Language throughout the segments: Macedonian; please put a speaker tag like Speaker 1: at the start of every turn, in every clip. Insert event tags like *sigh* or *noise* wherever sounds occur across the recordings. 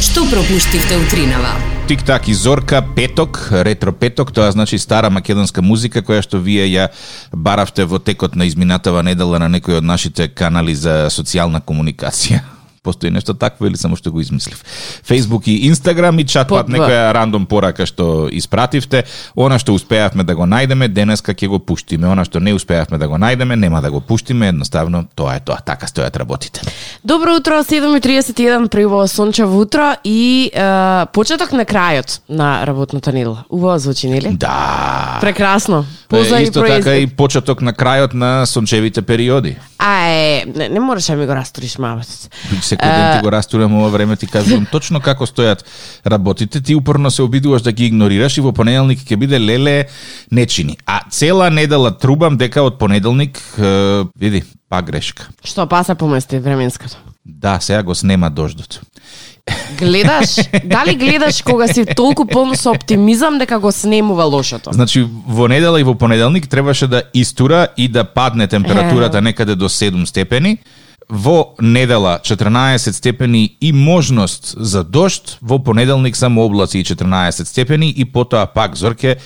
Speaker 1: што пропуштивте утринава.
Speaker 2: Тик-так и Зорка Петок, Ретро Петок, тоа значи стара македонска музика која што вие ја баравте во текот на изминатава недела на некој од нашите канали за социјална комуникација. *laughs* Постои нешто такво или само што го измислив? Фейсбук и Инстаграм и чатпат
Speaker 3: Под-
Speaker 2: некоја рандом порака што испративте. Она што успеавме да го најдеме, денеска ќе го пуштиме. Она што не успеавме да го најдеме, нема да го пуштиме. Едноставно, тоа е тоа. Така стојат работите.
Speaker 3: Добро утро, 7.31, приво сончево утро и е, почеток на крајот на работната недела. Убаво звучи, нели?
Speaker 2: Да.
Speaker 3: Прекрасно. Поза
Speaker 2: Е,
Speaker 3: и
Speaker 2: Исто така
Speaker 3: произвед.
Speaker 2: и почеток на крајот на сончевите периоди.
Speaker 3: Ај, не, не мораш да ми го растуриш мавот.
Speaker 2: Секој ден ти го растурам ова време, ти кажувам точно како стојат работите, ти упорно се обидуваш да ги игнорираш и во понеделник ќе биде леле не чини. А цела недела трубам дека од понеделник, е, види, па грешка.
Speaker 3: Што па се помести временското?
Speaker 2: Да, сега го снема дождот. *laughs*
Speaker 3: Гледаш? Дали гледаш кога си толку полн со оптимизам дека го снемува лошото?
Speaker 2: Значи, во недела и во понеделник требаше да истура и да падне температурата некаде до 7 степени. Во недела 14 степени и можност за дожд, во понеделник само облаци и 14 степени и потоа пак зорке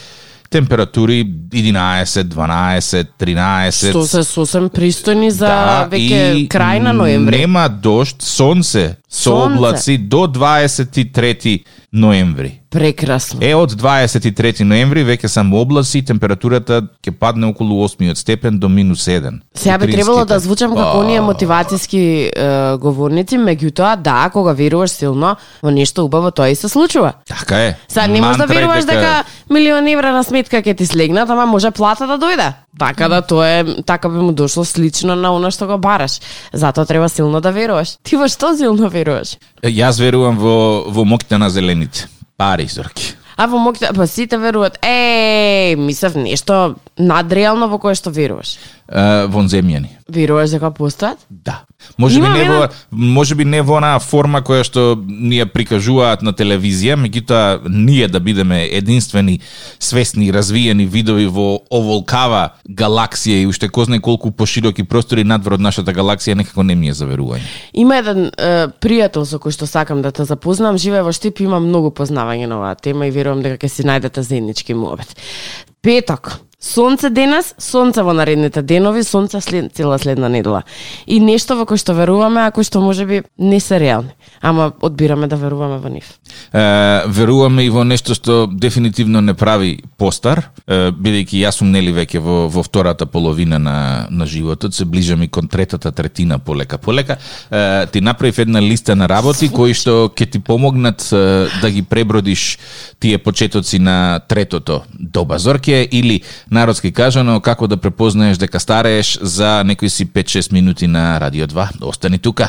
Speaker 2: температури 11, 12, 13.
Speaker 3: Што се сосем пристојни за
Speaker 2: Да,
Speaker 3: веќе
Speaker 2: и
Speaker 3: крај на ноември.
Speaker 2: Нема дожд, сонце со
Speaker 3: Сонце.
Speaker 2: облаци до 23 ноември.
Speaker 3: Прекрасно.
Speaker 2: Е, од 23 ноември веќе само облаци и температурата ќе падне околу 8 степен до минус 1.
Speaker 3: Сега би
Speaker 2: Утринските.
Speaker 3: требало да звучам како
Speaker 2: А,
Speaker 3: оние мотивацијски е, говорници, меѓутоа да, кога веруваш силно во нешто убаво, тоа и се случува.
Speaker 2: Така е.
Speaker 3: Сега не можеш да
Speaker 2: Мантра е
Speaker 3: веруваш дека милион евра на сметка ќе ти слегнат, ама може плата да дојде. Така да тоа е, така би му дошло слично на она што го бараш. Затоа треба силно да веруваш. Ти во што силно веруваш?
Speaker 2: Јас верувам во, во моките на зелените. Пари, зорки.
Speaker 3: А во моките, па сите веруваат, е, мислев нешто надреално во кое што веруваш.
Speaker 2: Е, вонземјани.
Speaker 3: Веруваш дека постојат?
Speaker 2: Да. Може би,
Speaker 3: Имам
Speaker 2: не во,
Speaker 3: еден-
Speaker 2: може би не во онаа форма која што ни ја прикажуваат на телевизија, меѓутоа ние да бидеме единствени, свесни, развиени видови во оволкава галаксија и уште кој знае колку пошироки простори надвор од нашата галаксија некако не ми е за верување.
Speaker 3: Има еден е, пријател со кој што сакам да те запознам, живее во Штип, има многу познавање на оваа тема и верувам дека ќе си најдете заеднички муабет. Петок. Сонце денес, сонце во наредните денови, сонце след, цела следна недела. И нешто во кое што веруваме, а кои што можеби не се реални. Ама одбираме да веруваме во нив.
Speaker 2: Е, веруваме и во нешто што дефинитивно не прави постар, е, бидејќи јас сум нели веќе во, во втората половина на, на животот, се ближам и кон третата третина полека. Полека е, ти направив една листа на работи кои што ќе ти помогнат е, да ги пребродиш тие почетоци на третото доба зорке или народски кажано како да препознаеш дека старееш за некои си 5-6 минути на Радио 2. Остани тука.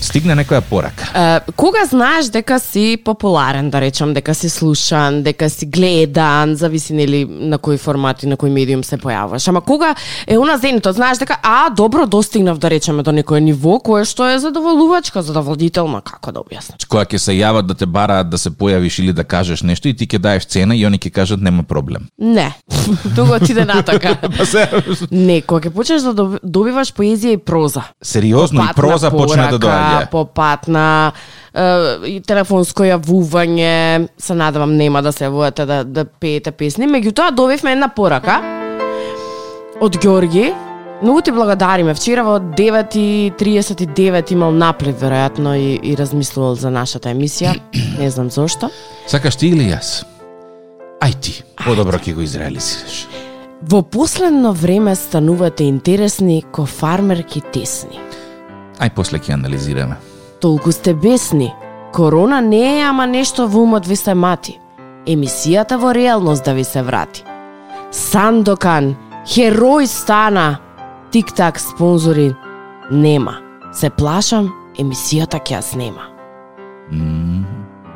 Speaker 2: Стигна некоја порака.
Speaker 3: Е, кога знаеш дека си популарен, да речам, дека си слушан, дека си гледан, зависи нели на кој формат и на кој медиум се појавуваш. Ама кога е она зеното, знаеш дека а добро достигнав да речеме до некое ниво кое што е задоволувачка, задоволително, како да објаснам.
Speaker 2: која ќе се јават да те бараат да се појавиш или да кажеш нешто и ти ќе даеш цена и они ќе кажат нема проблем.
Speaker 3: Не, туго отиде натака.
Speaker 2: *laughs* Па се
Speaker 3: *laughs* Не, кога ќе почнеш да доб- добиваш поезија и проза.
Speaker 2: сериозно и
Speaker 3: попатна
Speaker 2: проза почна да
Speaker 3: Па, порака,
Speaker 2: доаѓа.
Speaker 3: Попатна е, и телефонско јавување, се надевам нема да се јавувате да, да пеете песни. Меѓутоа добивме една порака од Ѓорги. Многу ти благодариме. Вчера во 9.39 имал наплет, веројатно, и, и размислувал за нашата
Speaker 2: *clears throat*
Speaker 3: емисија. Не знам зошто.
Speaker 2: Сакаш ти или јас? Ај ти, подобро ќе го изреализираш.
Speaker 3: Во последно време станувате интересни ко фармерки тесни.
Speaker 2: Ај после ќе анализираме.
Speaker 3: Толку сте бесни. Корона не е, ама нешто во умот ви се мати. Емисијата во реалност да ви се врати. Сандокан, херој стана. Тик-так спонзори нема. Се плашам, емисијата ќе ја снема.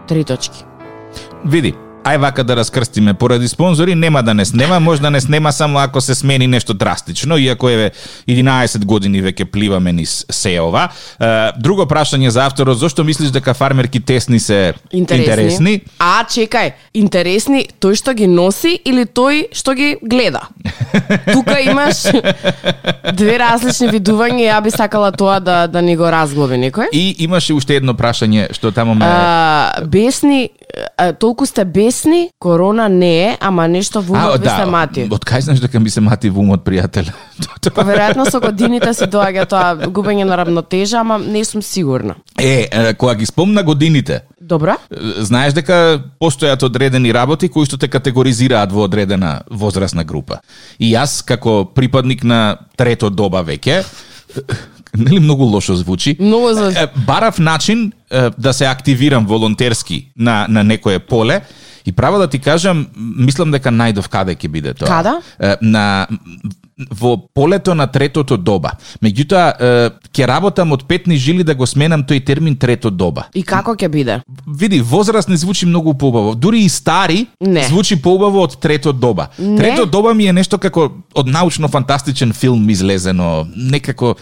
Speaker 3: Три точки.
Speaker 2: Види, ај вака да раскрстиме поради спонзори, нема да не снема, може да не снема само ако се смени нешто драстично, иако еве 11 години веќе пливаме низ се ова. Е, Друго прашање за авторот, зошто мислиш дека фармерки тесни се
Speaker 3: Интересни.
Speaker 2: интересни?
Speaker 3: А, чекај, интересни тој што ги носи или тој што ги
Speaker 2: *laughs*
Speaker 3: гледа? Тука имаш две различни видувања и ја би сакала тоа да, да ни го разглоби некој.
Speaker 2: И имаше уште едно прашање што тамо ме...
Speaker 3: А, бесни, а, толку сте бесни, корона не е, ама нешто во умот
Speaker 2: да.
Speaker 3: ви се
Speaker 2: *laughs*
Speaker 3: мати.
Speaker 2: од кај знаеш дека ми се мати во умот, пријател?
Speaker 3: Па веројатно со годините си доаѓа тоа губење на рамнотежа, ама не сум сигурна.
Speaker 2: *laughs* е, е, кога ги спомна годините,
Speaker 3: Добро?
Speaker 2: е, знаеш дека постојат одредени работи кои што те категоризираат во одредена возрастна група. И јас, како припадник на трето доба веќе, *laughs* нели многу лошо звучи,
Speaker 3: Многу за...
Speaker 2: Е, барав начин е, да се активирам волонтерски на, на некое поле и право да ти кажам, мислам дека најдов каде ќе биде тоа.
Speaker 3: Када?
Speaker 2: Е, На, во полето на третото доба. Меѓутоа, е, ќе работам од пет ни жили да го сменам тој термин трето доба.
Speaker 3: И како ќе биде?
Speaker 2: Види, возрастни звучи многу поубаво. Дури и стари
Speaker 3: Не.
Speaker 2: звучи поубаво од трето доба.
Speaker 3: Не.
Speaker 2: Трето доба ми е нешто како од научно фантастичен филм излезено, некако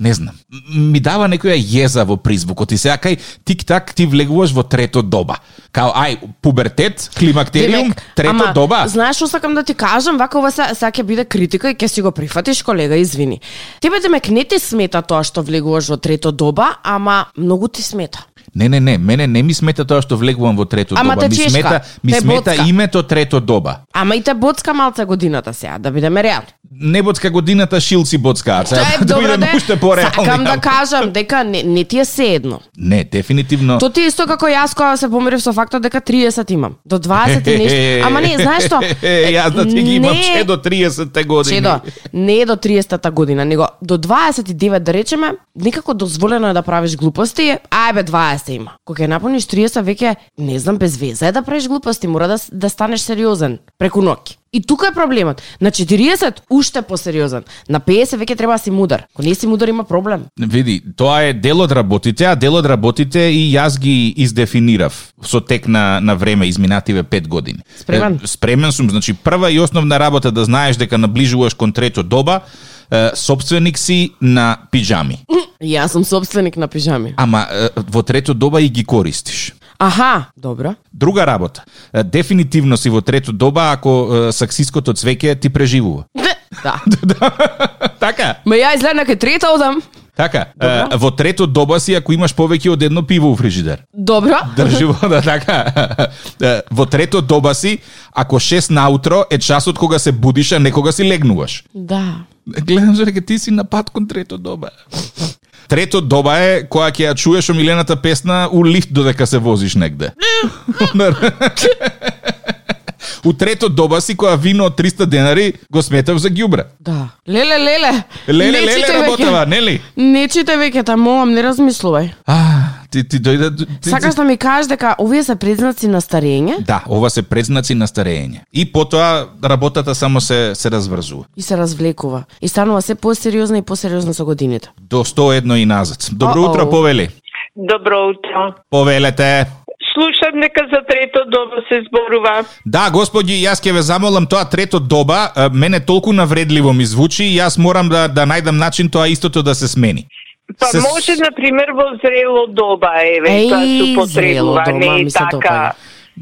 Speaker 2: не знам, ми дава некоја језа во призвукот и сега кај тик-так ти влегуваш во трето доба. Као, ај, пубертет, климактериум,
Speaker 3: Демек,
Speaker 2: трето
Speaker 3: ама,
Speaker 2: доба.
Speaker 3: Знаеш што сакам да ти кажам, вака ова се- сега ќе биде критика и ќе си го прифатиш колега, извини. Тебе демек не ти смета тоа што влегуваш во трето доба, ама многу ти смета.
Speaker 2: Не, не, не, мене не ми смета тоа што влегувам во трето
Speaker 3: Ама
Speaker 2: доба.
Speaker 3: те
Speaker 2: Ми
Speaker 3: чешка,
Speaker 2: смета, ми
Speaker 3: те
Speaker 2: смета
Speaker 3: боцка.
Speaker 2: името трето доба.
Speaker 3: Ама и те боцка малце годината сега, да бидеме реални.
Speaker 2: Не боцка годината, шилци боцкаат. Сега
Speaker 3: Тоа
Speaker 2: *laughs*
Speaker 3: е
Speaker 2: да
Speaker 3: добро
Speaker 2: бидеме
Speaker 3: да
Speaker 2: уште пореални.
Speaker 3: Сакам да кажам дека не, не ти е се едно.
Speaker 2: Не, дефинитивно.
Speaker 3: То ти е исто како јас кога се помирив со фактот дека 30 имам. До 20
Speaker 2: *laughs*
Speaker 3: и нешто. Ама не, знаеш што?
Speaker 2: Јас да ти ги имам
Speaker 3: Не е
Speaker 2: че до 30-те години.
Speaker 3: Чедо, не е до 30-та година, него до 29 да речеме, некако дозволено е да правиш глупости, ај бе 20 има. Кога ја напуниш 30 веќе, не знам, без веза е да правиш глупости, мора да, с- да станеш сериозен преку ноќ. И тука е проблемот. На 40 уште посериозен. На 50 веќе треба да си мудар. Ако не си мудар има проблем. *clears throat*
Speaker 2: Види, тоа е дел од работите, а дел од работите и јас ги издефинирав со тек на, на време, изминативе 5 години.
Speaker 3: Спремен?
Speaker 2: Е, спремен сум, значи прва и основна работа да знаеш дека наближуваш кон трето доба, е, собственик си на пиджами.
Speaker 3: Јас сум собственик на пижами.
Speaker 2: Ама е, во трето доба и ги користиш.
Speaker 3: Аха, добро.
Speaker 2: Друга работа. Е, Дефинитивно си во трето доба ако е, саксиското цвеќе ти преживува.
Speaker 3: Да.
Speaker 2: *laughs* така?
Speaker 3: Ме ја изгледна кај трета одам.
Speaker 2: Така, е, во трето доба си ако имаш повеќе од едно пиво у *laughs* фрижидер.
Speaker 3: Добро.
Speaker 2: Држи во да така. Е, Во трето доба си ако 6 наутро е часот кога се будиш, а не кога си легнуваш.
Speaker 3: Да.
Speaker 2: Гледам за дека ти си на пат кон трето доба. Трето доба е која ќе ја чуеш омилената песна у лифт додека се возиш негде. *laughs* у трето доба си која вино од 300 денари го сметав за ѓубра.
Speaker 3: Да. Леле, леле.
Speaker 2: Леле,
Speaker 3: Не читај
Speaker 2: леле
Speaker 3: веќе.
Speaker 2: работава, нели?
Speaker 3: Не читај веќе, та молам, не размислувај.
Speaker 2: А, ти ти дојде ти-
Speaker 3: Сакаш да ми кажеш дека овие се признаци на старење
Speaker 2: Да, ова се предзнаци на старење. И потоа работата само се се разврзува.
Speaker 3: и се развлекува. И станува се посериозна и посериозна со годините.
Speaker 2: До 101 и назад. Добро
Speaker 3: О-о.
Speaker 2: утро, повели.
Speaker 1: Добро утро.
Speaker 2: Повелете.
Speaker 1: Слушам дека за трето доба се зборува.
Speaker 2: Да, господи, јас ќе ве замолам тоа трето доба, е, мене толку навредливо ми звучи, и јас морам да да најдам начин тоа истото да се смени.
Speaker 1: Па
Speaker 2: Се-
Speaker 1: може, на пример, во зрело доба, еве,
Speaker 3: Еј,
Speaker 1: тоа се
Speaker 3: зрело доба,
Speaker 1: употребува, не
Speaker 3: ми
Speaker 1: е
Speaker 3: се допаѓа.
Speaker 1: така.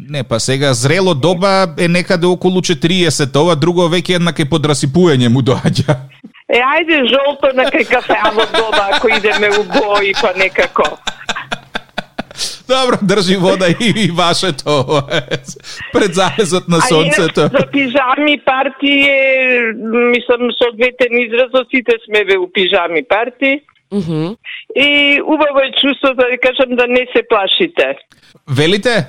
Speaker 2: Не, па сега зрело доба е некаде околу 40, ова друго веќе еднак е подрасипување му доаѓа.
Speaker 1: Е, ајде, жолто на кај кафеаво доба, ако идеме у бој, па некако.
Speaker 2: Добро, држи вода и, и вашето *laughs* пред залезот на
Speaker 1: А
Speaker 2: сонцето.
Speaker 1: инак, за пижами партии, е, мислам, со одветен изразот, сите сме ве у пижами партии.
Speaker 3: Мгм.
Speaker 1: И убаво е чувство да ви кажам да не се плашите.
Speaker 2: Велите?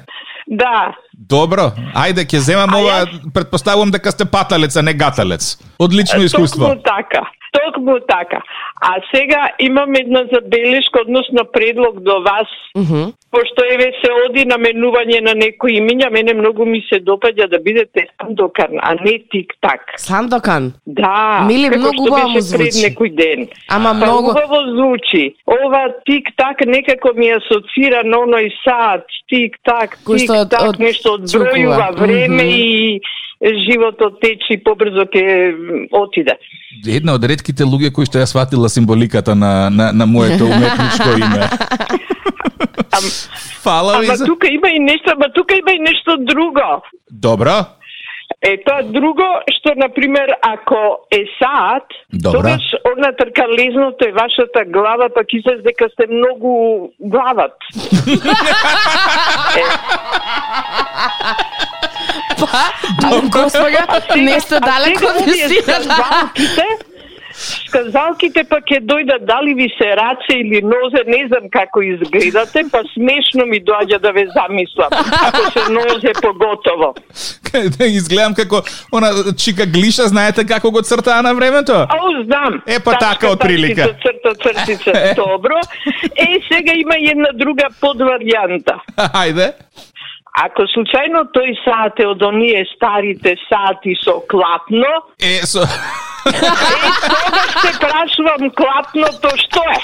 Speaker 1: Да,
Speaker 2: Добро, ајде ќе земам
Speaker 1: А
Speaker 2: ова,
Speaker 1: јас-
Speaker 2: предпоставувам дека сте паталец, а не гаталец. Одлично *laughs* искуство.
Speaker 1: Токму така. Токму така. А сега имам една забелешка, односно предлог до вас.
Speaker 3: Мгм.
Speaker 1: Пошто еве се оди на менување на некои имиња, мене многу ми се допаѓа да бидете Сандокан, а не Тик-так.
Speaker 2: *laughs*
Speaker 3: Сандокан.
Speaker 1: Да,
Speaker 3: Миле,
Speaker 1: како
Speaker 3: многу
Speaker 1: што
Speaker 3: убаво
Speaker 1: беше
Speaker 3: му звучи.
Speaker 1: пред некој ден.
Speaker 3: Ама
Speaker 1: Па
Speaker 3: многу...
Speaker 1: убаво звучи. Ова тик-так некако ми асоцира на оној сат, тик-так,
Speaker 3: Кој што од-
Speaker 1: тик-так,
Speaker 3: од-
Speaker 1: нешто одбројува
Speaker 3: чукува.
Speaker 1: време
Speaker 3: Мгм.
Speaker 1: и животот течи побрзо ке отиде.
Speaker 2: Една од редките луѓе кои што ја сватила символиката на, на, на моето уметничко име.
Speaker 1: *laughs* Ам,
Speaker 2: Фала ви
Speaker 1: ама
Speaker 2: за...
Speaker 1: тука има и нешто, ама тука има и нешто друго.
Speaker 2: Добро.
Speaker 1: Е тоа друго што на пример ако е саат,
Speaker 2: Добра.
Speaker 1: тогаш она трка лезното е вашата глава, пак излез дека сте многу глават.
Speaker 3: Па,
Speaker 2: *laughs*
Speaker 3: господа, не сте далеко
Speaker 1: сега
Speaker 3: од
Speaker 1: овие
Speaker 3: вистината.
Speaker 1: скандалките, скандалките пак па ќе дојдат дали ви се раце или нозе, не знам како изгледате, па смешно ми доаѓа да ве замислам, ако се нозе поготово.
Speaker 2: Да Изгледам како она чика глиша, знаете како го цртаа на времето?
Speaker 1: Ау, знам.
Speaker 2: Е, па така, отприлика.
Speaker 1: Тачка, црта,
Speaker 2: *laughs*
Speaker 1: цртица, добро. Е, сега има една друга подваријанта.
Speaker 2: *laughs* Ајде.
Speaker 1: Ако случајно тој саат е од оние старите сати со клапно,
Speaker 2: Е, со...
Speaker 1: е, тогаш се прашувам клапното што е?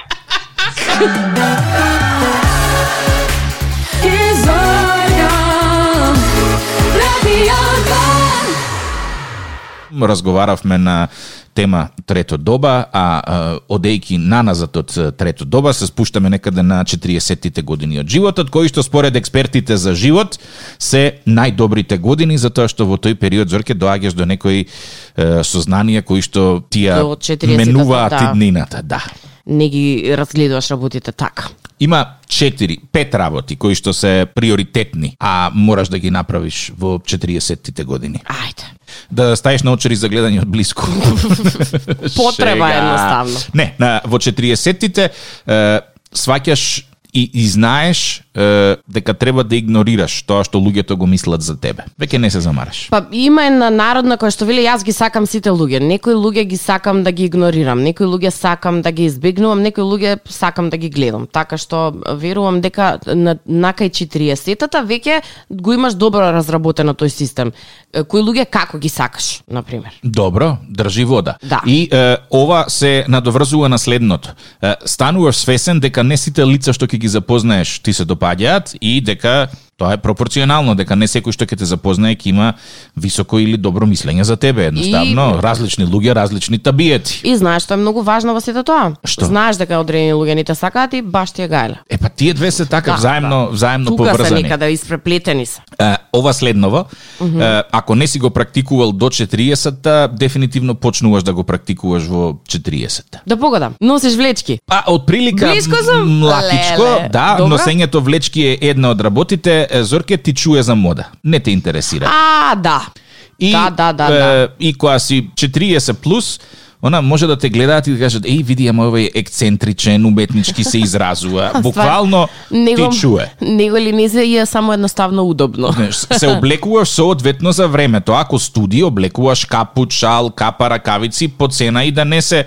Speaker 2: Разговаравме на тема трето доба, а, а одејки наназад од е, трето доба се спуштаме некаде на 40-тите години од животот, кои што според експертите за живот се најдобрите години, затоа што во тој период Зорке доаѓаш до некои е, сознанија кои што ти ја
Speaker 3: До 40-тата,
Speaker 2: менуваат
Speaker 3: да.
Speaker 2: иднината. Да.
Speaker 3: Не ги разгледуваш работите така.
Speaker 2: Има 4, 5 работи кои што се приоритетни, а мораш да ги направиш во 40-тите години.
Speaker 3: Ајде.
Speaker 2: Да стаеш на очери за гледање од
Speaker 3: *laughs*
Speaker 2: блиску.
Speaker 3: Потреба е
Speaker 2: Шега.
Speaker 3: едноставно.
Speaker 2: Не, на, во 40-тите е, сваќаш и, и знаеш е, дека треба да игнорираш тоа што луѓето го мислат за тебе. Веќе не се замараш.
Speaker 3: Па има една народна која што вели јас ги сакам сите луѓе. Некои луѓе ги сакам да ги игнорирам, некои луѓе сакам да ги избегнувам, некои луѓе сакам да ги гледам. Така што верувам дека на накај 40-тата веќе го имаш добро разработено тој систем. Е, Кои луѓе како ги сакаш, на пример.
Speaker 2: Добро, држи вода.
Speaker 3: Да.
Speaker 2: И е, ова се надоврзува на следното. Е, стануваш свесен дека не сите лица што ќе ги запознаеш ти се допаѓаат и дека тоа е пропорционално, дека не секој што ќе те запознае ќе има високо или добро мислење за тебе, едноставно, и... различни луѓе, различни табиети.
Speaker 3: И знаеш што е многу важно во сето тоа.
Speaker 2: Што?
Speaker 3: Знаеш дека одредени луѓе не те сакаат и баш ти е гајле.
Speaker 2: Е па тие две се така
Speaker 3: Да,
Speaker 2: взаимно, взаимно
Speaker 3: Тука се
Speaker 2: поврзани.
Speaker 3: некаде испреплетени се.
Speaker 2: Е, ова следново, е, ако не си го практикувал до 40-та, дефинитивно почнуваш да го практикуваш во 40-та.
Speaker 3: Да погодам. Носиш влечки.
Speaker 2: Па, од прилика
Speaker 3: Блиско сум.
Speaker 2: млакичко,
Speaker 3: Леле.
Speaker 2: да,
Speaker 3: Добро.
Speaker 2: носењето влечки е една од работите, е, Зорке ти чуе за мода, не те интересира.
Speaker 3: А, да.
Speaker 2: и,
Speaker 3: да, да, да,
Speaker 2: е,
Speaker 3: да.
Speaker 2: И која си 40 плюс, она може да те гледаат и да кажат, еј, види, ама овој е екцентричен, уметнички се
Speaker 3: *laughs*
Speaker 2: изразува. Буквално ти чуе.
Speaker 3: Него ли не се е само едноставно удобно.
Speaker 2: Знаеш, се облекуваш соодветно за времето. Ако студи, облекуваш капут, шал, капа, ракавици по цена и да не се е,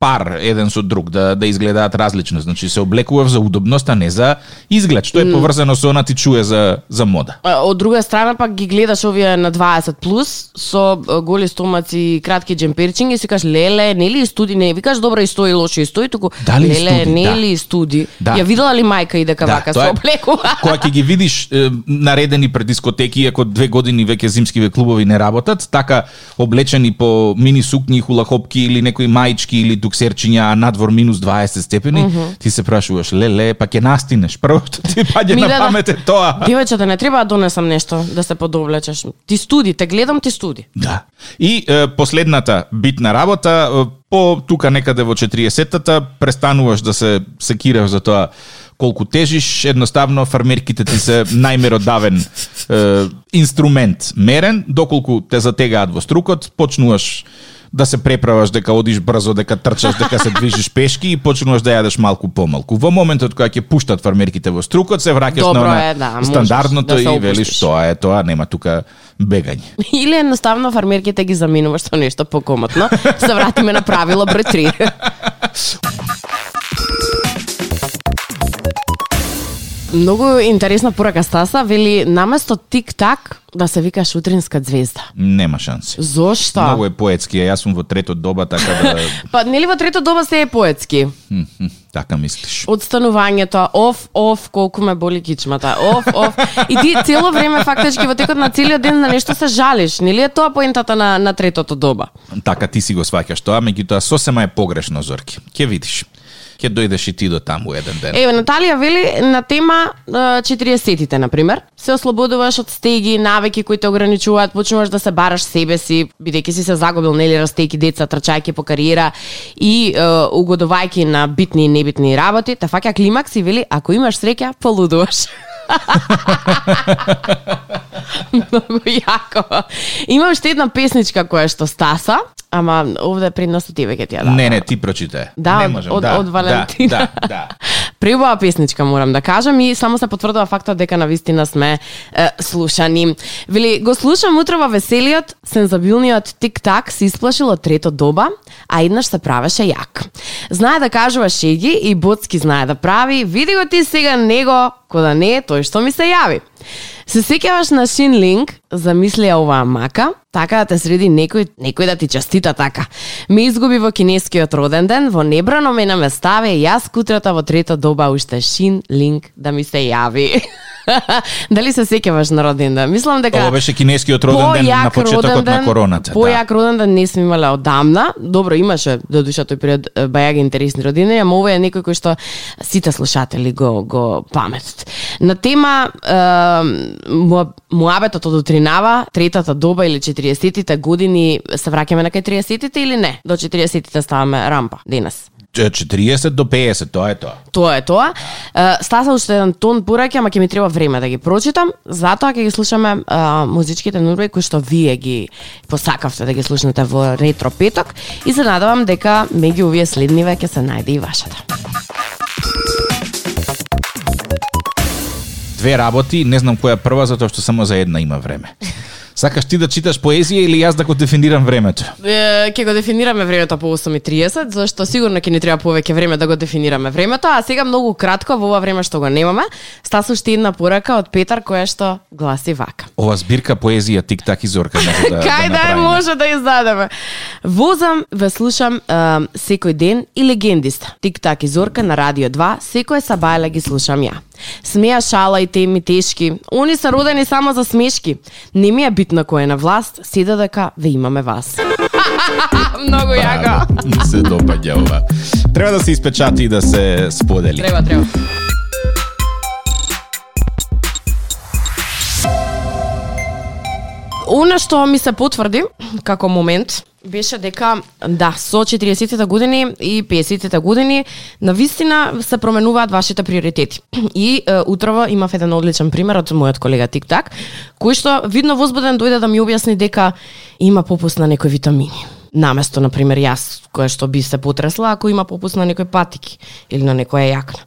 Speaker 2: пар еден со друг, да да изгледаат различно. Значи се облекуваш за удобност, а не за изглед, што е поврзано со она ти чуе за за мода.
Speaker 3: А, Од друга страна пак ги гледаш овие на 20 плюс со а, голи стомаци и кратки џемперчиња и си кажеш леле нели и студи не викаш добро и стои лошо и стои туку
Speaker 2: Дали и
Speaker 3: леле
Speaker 2: студи,
Speaker 3: нели и студи.
Speaker 2: Да.
Speaker 3: Ја видела ли мајка и дека вака
Speaker 2: тоа
Speaker 3: се
Speaker 2: е *laughs*
Speaker 3: облекува?
Speaker 2: Кога ќе ги видиш е, наредени пред дискотеки, иако две години веќе зимскиве клубови не работат, така облечени по мини сукњи, хулахопки или некои маички или дуксерчиња, а надвор минус 20 степени, mm -hmm. ти се прашуваш, леле, па ќе настинеш. Прво што ти паѓа на
Speaker 3: Миле, да.
Speaker 2: памет е тоа.
Speaker 3: Девојчата не треба да донесам нешто да се подоблечеш. Ти студи, те гледам ти студи.
Speaker 2: Да. И е, последната битна работа, е, по тука некаде во 40-тата, престануваш да се секираш за тоа колку тежиш, едноставно фармерките ти се најмеродавен е, инструмент мерен, доколку те затегаат во струкот, почнуваш да се преправаш дека одиш брзо, дека трчаш, дека се движиш пешки и почнуваш да јадеш малку помалку. Во моментот кога ќе пуштат фармерките во струкот, се враќаш на
Speaker 3: Добро
Speaker 2: она
Speaker 3: е, да, можеш
Speaker 2: стандардното
Speaker 3: да се
Speaker 2: и велиш
Speaker 3: опуштиш.
Speaker 2: тоа е тоа, нема тука бегање.
Speaker 3: *laughs* Или едноставно фармерките ги заменуваш со нешто покомотно. Се вратиме на правило број 3. *laughs* Многу интересна порака Стаса, вели наместо тик-так да се вика шутринска звезда.
Speaker 2: Нема шанси.
Speaker 3: Зошто?
Speaker 2: Многу е поетски, а јас сум во трето доба, така да... *laughs*
Speaker 3: Па нели во трето доба се е поетски?
Speaker 2: М, м, така мислиш.
Speaker 3: Одстанувањето, оф, оф, колку ме боли кичмата, оф, оф. И ти цело време фактички во текот на целиот ден на нешто се жалиш. Нели е тоа поентата на, на третото доба?
Speaker 2: Така ти си го сваќаш тоа, меѓутоа сосема е погрешно, Зорки. Ке видиш. Ке дојдеш и ти до таму еден ден. *laughs*
Speaker 3: Еве, Наталија вели на тема е, 40-тите, на пример. Се ослободуваш од стеги, навики кои те ограничуваат, почнуваш да се бараш себе си, бидејќи си се загубил, нели, растејќи деца, трчајќи по кариера и е, угодувајќи на битни и небитни работи, та фаќа климакс и вели, ако имаш среќа, полудуваш. *laughs* Многу јако. Имам уште една песничка која што Стаса, ама овде пред нас ти веќе ти ја дадам.
Speaker 2: Не, не, ти прочитај.
Speaker 3: Да,
Speaker 2: не
Speaker 3: од- од- од Валентина.
Speaker 2: Да, да,
Speaker 3: *laughs*
Speaker 2: да.
Speaker 3: Пребава песничка морам да кажам и само се потврдува фактот дека на вистина сме е, слушани. Вели, го слушам утрова веселиот, сензабилниот тик-так се исплашил од трето доба, а еднаш се правеше јак. Знае да кажува шеги и Боцки знае да прави, види го ти сега него, ко да не е тој што ми се јави. Се сеќаваш на Шин Линг, замисли ја оваа мака, така да те среди некој, некој да ти честита така. Ме изгуби во кинескиот роден ден, во небрано мена ме ставе и јас кутрата во трето доба уште Шин Линг да ми се јави. *laughs* Дали се сеќаваш на роден ден? Мислам дека
Speaker 2: Ова беше кинескиот роден ден на
Speaker 3: појак
Speaker 2: почетокот
Speaker 3: Така. роден
Speaker 2: на
Speaker 3: ден-
Speaker 2: короната. Да.
Speaker 3: Појак роден ден не сме имале одамна. Добро, имаше до душа тој период е, бајаги интересни родини, ама ова е некој кој што сите слушатели го го паметат. На тема е, муа- муабетот од утринава, третата доба или 40-тите години се враќаме на кај 30-тите или не? До 40-тите ставаме рампа денес.
Speaker 2: Ч- 40 до 50, тоа е тоа.
Speaker 3: Тоа е тоа. Е, Стаса уште еден тон пораки, ама ќе ми треба време да ги прочитам. Затоа ќе ги слушаме е, музичките нурбе кои што вие ги посакавте да ги слушнете во ретро петок и се надевам дека меѓу овие следниве ќе се најде и вашата.
Speaker 2: Две работи, не знам која прва, затоа што само за една има
Speaker 3: *laughs*
Speaker 2: време. Сакаш ти да читаш поезија или јас да го дефинирам времето?
Speaker 3: Е, ќе го дефинираме времето по 8.30, зашто сигурно ќе ни треба повеќе време да го дефинираме времето, а сега многу кратко во ова време што го немаме, Стаса уште една порака од Петар која што гласи вака.
Speaker 2: Ова збирка поезија тик-так и зорка
Speaker 3: *laughs*
Speaker 2: може да,
Speaker 3: Кај да, е
Speaker 2: направиме.
Speaker 3: може да издадеме. Возам, ве слушам е, секој ден и легендиста. Тик-так и Зорка на Радио 2, секој сабајле ги слушам ја. Смеја шала и теми тешки. Они се родени само за смешки. Не ми е битно кој е на власт, седа дека ве имаме вас. Многу јако.
Speaker 2: *laughs* Браво, ми Да, се допаѓа ова. Треба да се испечати и да се сподели.
Speaker 3: Треба, треба. Она што ми се потврди како момент беше дека да, со 40-тите години и 50-тите години на вистина се променуваат вашите приоритети. И е, утрово имав еден одличен пример од мојот колега Тик Так, кој што видно возбуден дојде да ми објасни дека има попуст на некои витамини. Наместо, на пример, јас, која што би се потресла ако има попуст на некој патики или на некоја јакна.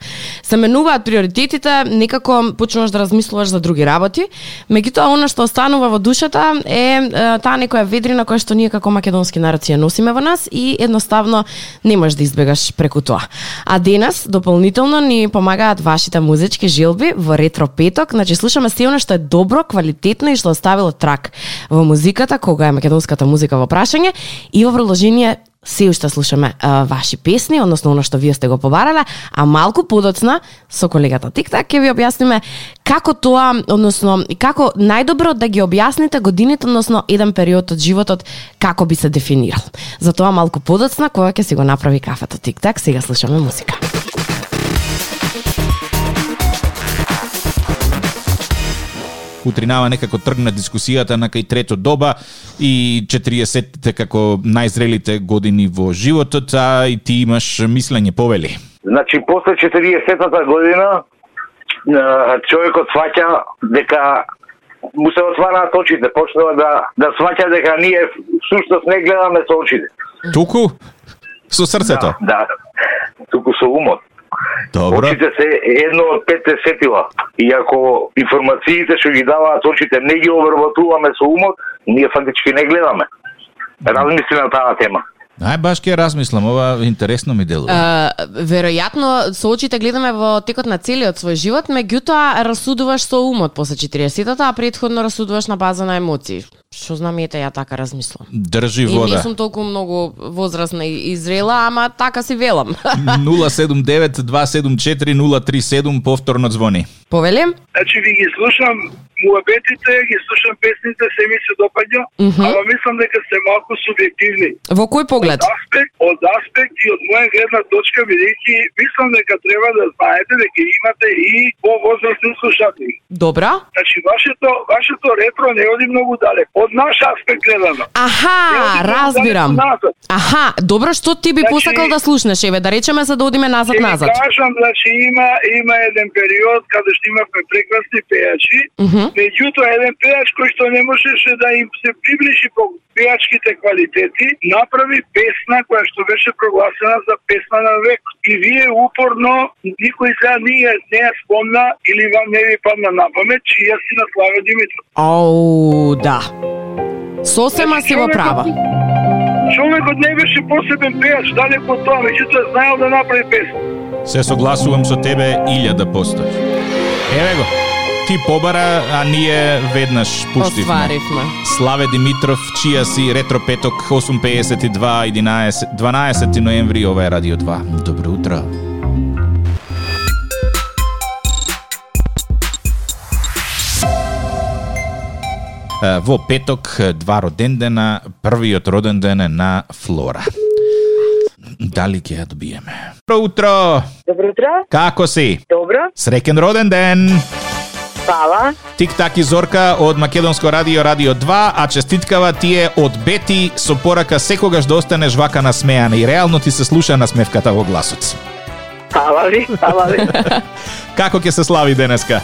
Speaker 3: Се менуваат приоритетите, некако почнуваш да размислуваш за други работи, меѓутоа она што останува во душата е, е таа некоја ведрина која што ние како македонски народ си ја носиме во нас и едноставно не можеш да избегаш преку тоа. А денес дополнително ни помагаат вашите музички жилби во ретро петок, значи слушаме се она што е добро, квалитетно и што оставило трак во музиката, кога е македонската музика во прашање и во продолжение се уште слушаме а, ваши песни, односно оно што вие сте го побарале, а малку подоцна со колегата Тиктак ќе ви објасниме како тоа, односно како најдобро да ги објасните годините, односно еден период од животот како би се дефинирал. Затоа малку подоцна кога ќе си го направи кафето Тиктак, сега слушаме музика.
Speaker 2: утринава некако тргна дискусијата на кај трето доба и 40-тите како најзрелите години во животот, а и ти имаш мислење повели.
Speaker 4: Значи, после 40-тата година, е, човекот сваќа дека му се отвараат очите, почнува да, да сваќа дека ние всушност не гледаме со очите.
Speaker 2: Туку? Со срцето?
Speaker 4: Да, туку со умот.
Speaker 2: Добро.
Speaker 4: Очите се едно од петте сетила. И ако информациите што ги даваат очите не ги обработуваме со умот, ние фактички не гледаме. Размисли на таа тема.
Speaker 2: Ај баш ке размислам, ова интересно ми делува.
Speaker 3: Е, веројатно со очите гледаме во текот на целиот свој живот, меѓутоа расудуваш со умот после 40-тата, а предходно расудуваш на база на емоции. Што знам, ете, ја така размислам.
Speaker 2: Држи
Speaker 3: И не
Speaker 2: вода.
Speaker 3: *laughs* сум толку многу возрасна и и зрела, ама така си велам. *laughs*
Speaker 2: 079-274-037 повторно звони.
Speaker 3: Повелем?
Speaker 5: Значи ви ги слушам муабетите, ги слушам песните, се ми се допаѓа,
Speaker 3: Мгм.
Speaker 5: ама мислам дека сте малку субјективни.
Speaker 3: Во кој поглед?
Speaker 5: Аспект, од аспект и од моја гледна точка, бидејќи мислам дека треба да знаете дека имате и повозрастни слушатели.
Speaker 3: Добра?
Speaker 5: Значи, вашето, вашето ретро не оди многу далеко. Од наш аспект гледано.
Speaker 3: Аха, разбирам. Аха, добро, што ти би
Speaker 5: Значи-
Speaker 3: посакал да слушнеш, еве, да речеме за да одиме
Speaker 5: Ќе ви
Speaker 3: назад-назад.
Speaker 5: кажам, значи, има, има еден период каде што имавме прекрасни пејачи,
Speaker 3: Мгм.
Speaker 5: меѓутоа еден пејач кој што не можеше да им се приближи по пејачките квалитети, направи песна која што беше прогласена за песна на век. И вие упорно, никој сега не, ја- не ја спомна или вам не ви падна на памет, чија си на Славе Димитров.
Speaker 3: Оу, да. Сосема си во права.
Speaker 5: Човекот не беше посебен пејач, далеко од тоа, меѓутоа знаел да направи песна.
Speaker 2: Се согласувам со тебе 1000%. Еве го. Ти побара, а ние веднаш пуштивме.
Speaker 3: Остваривме.
Speaker 2: Славе Димитров, чија си ретро петок 8:52 11 12 ноември ова е Радио 2. Добро утро. Е, Во петок е, два роден дена, првиот роден ден е на Флора. Дали ќе ја добиеме? Добро утро!
Speaker 6: Добро утро.
Speaker 2: Како си?
Speaker 6: Добро.
Speaker 2: Среќен роден ден!
Speaker 6: Фала.
Speaker 2: Тик так и Зорка од Македонско радио Радио 2, а честиткава ти е од Бети со порака секогаш да останеш вака насмеана и реално ти се слуша насмевката во гласот.
Speaker 6: Фала ви. Фала
Speaker 2: *laughs*
Speaker 6: ви.
Speaker 2: Како ќе се слави денеска?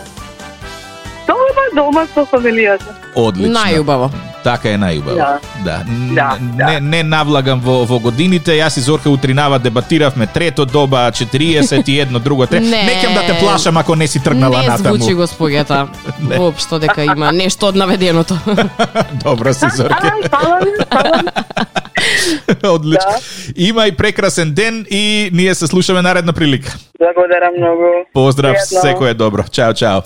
Speaker 6: Дома, дома со фамилијата.
Speaker 2: Одлично.
Speaker 3: Најубаво.
Speaker 2: Така е најубаво.
Speaker 6: Да.
Speaker 2: Да.
Speaker 6: Да, да.
Speaker 2: Не, не навлагам во, во годините, јас и Зорка утринава дебатиравме трето доба, 40 и едно друго трето.
Speaker 3: Не.
Speaker 2: Неќам да те плашам ако не си тргнала
Speaker 3: Не
Speaker 2: натаму. *laughs*
Speaker 3: звучи госпоѓата. Воопшто дека има нешто од наведеното.
Speaker 2: Добро си, Зорке.
Speaker 6: Ај, Да, фала ви. Фала Да. ви.
Speaker 2: *laughs* Одлично. Имај прекрасен ден и ние се слушаме наредна прилика.
Speaker 6: Благодарам многу.
Speaker 2: Поздрав,
Speaker 6: Пријатно.
Speaker 2: секој е добро. Чао, чао.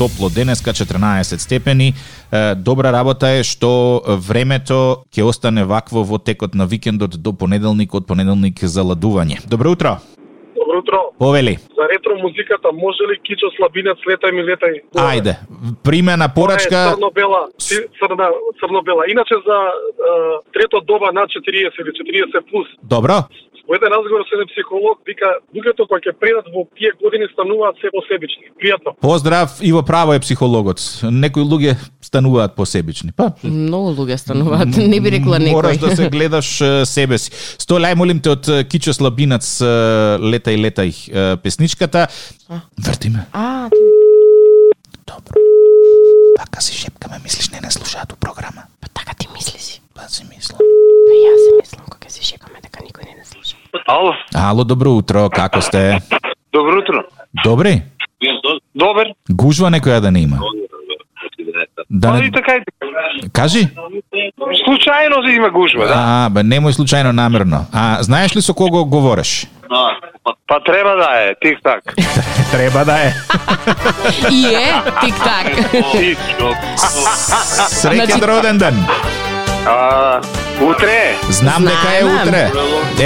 Speaker 2: топло денеска 14 степени. Е, Добра работа е што времето ќе остане вакво во текот на викендот до понеделник, од понеделник за ладување. Добро утро.
Speaker 5: Добро утро.
Speaker 2: Повели.
Speaker 5: За ретро музиката може ли Кичо Слабинец летај ми летај?
Speaker 2: Ајде. Примена порачка.
Speaker 5: Црно-бела, си- црна, црно-бела. Иначе за е, трето доба на 40 или 40 плюс,
Speaker 2: Добро.
Speaker 5: во еден разговор со еден психолог, вика, луѓето кои ќе предат во тие години стануваат се посебични. Пријатно.
Speaker 2: Поздрав и во право е психологот. Некои луѓе стануваат посебични. Па,
Speaker 3: Многу луѓе стануваат, не би рекла некој.
Speaker 2: Мораш да се гледаш е, себе си. Столај, молим те, од е, Кичо Слабинац, е, летај, летај, е, песничката. Врти ме.
Speaker 3: А,
Speaker 2: Добро. Пака Така си шепкаме, мислиш, не не слушаат у програма.
Speaker 3: па така ти мислиш.
Speaker 2: Па си мислам.
Speaker 3: Па јас се мислам кога се шекаме дека никој не не слуша.
Speaker 7: Ало,
Speaker 2: Ало, добро утро, како сте?
Speaker 7: добро утро.
Speaker 2: Добри?
Speaker 7: Добар.
Speaker 2: Гужва некоја да не има. Да не...
Speaker 7: така е.
Speaker 2: Кажи?
Speaker 7: Случајно се има гужва, да.
Speaker 2: А, бе, немој случајно намерно. А, знаеш ли со кого говориш?
Speaker 7: Па, па треба да е, тик так.
Speaker 2: Треба да е.
Speaker 3: И е, тик-так.
Speaker 2: *laughs* Среќен
Speaker 3: Значи-
Speaker 2: роден ден.
Speaker 7: А,
Speaker 5: Uh,
Speaker 7: утре.
Speaker 2: Знам дека е
Speaker 3: Знаеме.
Speaker 2: утре.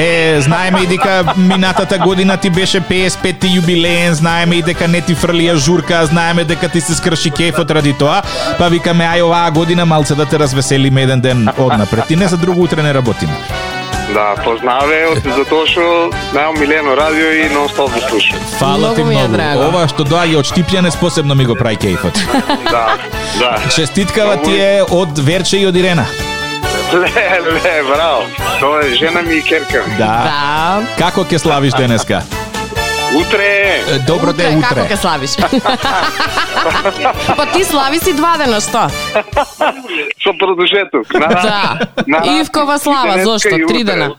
Speaker 2: Е, знаеме и дека минатата година ти беше 55-ти јубилеен, знаеме и дека не ти фрлија журка, знаеме дека ти се скрши кефот ради тоа, па викаме ај оваа година малце да те развеселиме еден ден однапред. И не за друго утре не работиме.
Speaker 7: Да, познаве, затоа што најам Милено радио и нон-стоп го слушам.
Speaker 2: Фала ти
Speaker 3: Многу ми е
Speaker 2: многу.
Speaker 3: драго.
Speaker 2: Ова што доаѓа од штипљане спосебно ми го прави
Speaker 3: *laughs*
Speaker 2: кефот.
Speaker 7: Да, да.
Speaker 2: Чestitkava ти е од Верче и од Ирена.
Speaker 7: Ле, ле, браво. Тоа е жена ми и керка. ми.
Speaker 2: Да.
Speaker 3: Да.
Speaker 2: Како ќе славиш денеска?
Speaker 7: Утре е.
Speaker 2: Е, Добро де е
Speaker 3: Како
Speaker 2: утре.
Speaker 3: ке славиш? *laughs* па ти слави си два дена, што?
Speaker 7: Со продолжеток. На,
Speaker 3: Да. Ивкова слава, зошто?
Speaker 7: и
Speaker 3: Три
Speaker 7: утре.
Speaker 3: дена.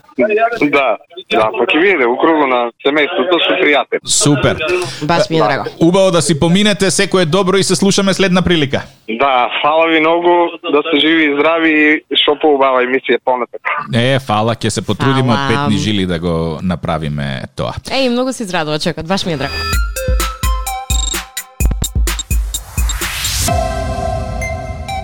Speaker 7: Да, да, па ќе видите, укругу на семејството со пријател.
Speaker 2: Супер.
Speaker 3: Баш ми е драго.
Speaker 2: да Убаво да си поминете, секое добро и се слушаме следна прилика.
Speaker 7: Да, фала ви многу, да сте живи и здрави и што поубава емисија понатак.
Speaker 2: Е, фала, ќе се потрудиме од
Speaker 3: Фала.
Speaker 2: петни жили да го направиме тоа.
Speaker 3: Еј, многу си израдува човекот, баш ми е драго.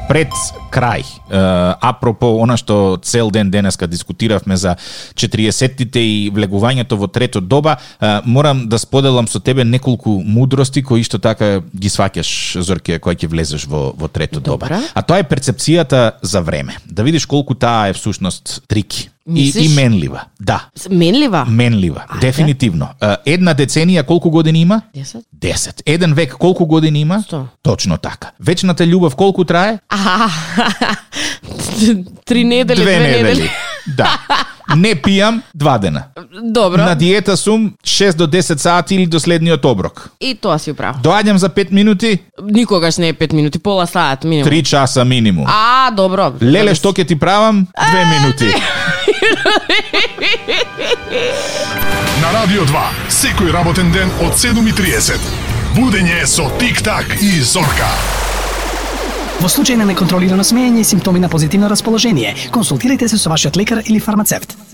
Speaker 2: пред крај, е, апропо она што цел ден денеска дискутиравме за 40-тите и влегувањето во трето доба, е, морам да споделам со тебе неколку мудрости кои што така ги сваќаш, Зорке, која ќе влезеш во, во трето доба.
Speaker 3: Добра.
Speaker 2: А тоа е перцепцијата за време. Да видиш колку таа е всушност трики. И,
Speaker 3: Мислиш?
Speaker 2: и менлива. Да,
Speaker 3: Менлива?
Speaker 2: менлива.
Speaker 3: Ајде.
Speaker 2: Дефинитивно. Е, Една деценија колку години има?
Speaker 3: 10?
Speaker 2: 10. Еден век колку години има?
Speaker 3: Сто.
Speaker 2: Точно така. Вечната љубов колку трае?
Speaker 3: Аха, *laughs* три недели, две,
Speaker 2: две недели.
Speaker 3: недели.
Speaker 2: *laughs* Да. Не пијам два дена.
Speaker 3: Добро,
Speaker 2: На диета сум 6 до 10 сати или до следниот оброк.
Speaker 3: и тоа си управо.
Speaker 2: Доаѓам за 5 минути,
Speaker 3: Никогаш не е 5 минути, пола саат минимум.
Speaker 2: 3 часа минимум.
Speaker 3: А, добро.
Speaker 2: Леле, што ќе ти правам? Две минути.
Speaker 8: На Радио 2, секој работен ден од 7.30. Будење со Тик-так и Зорка.
Speaker 9: Во случај на неконтролирано смеење и симптоми на позитивно расположение, консултирайте се со вашиот лекар или фармацевт.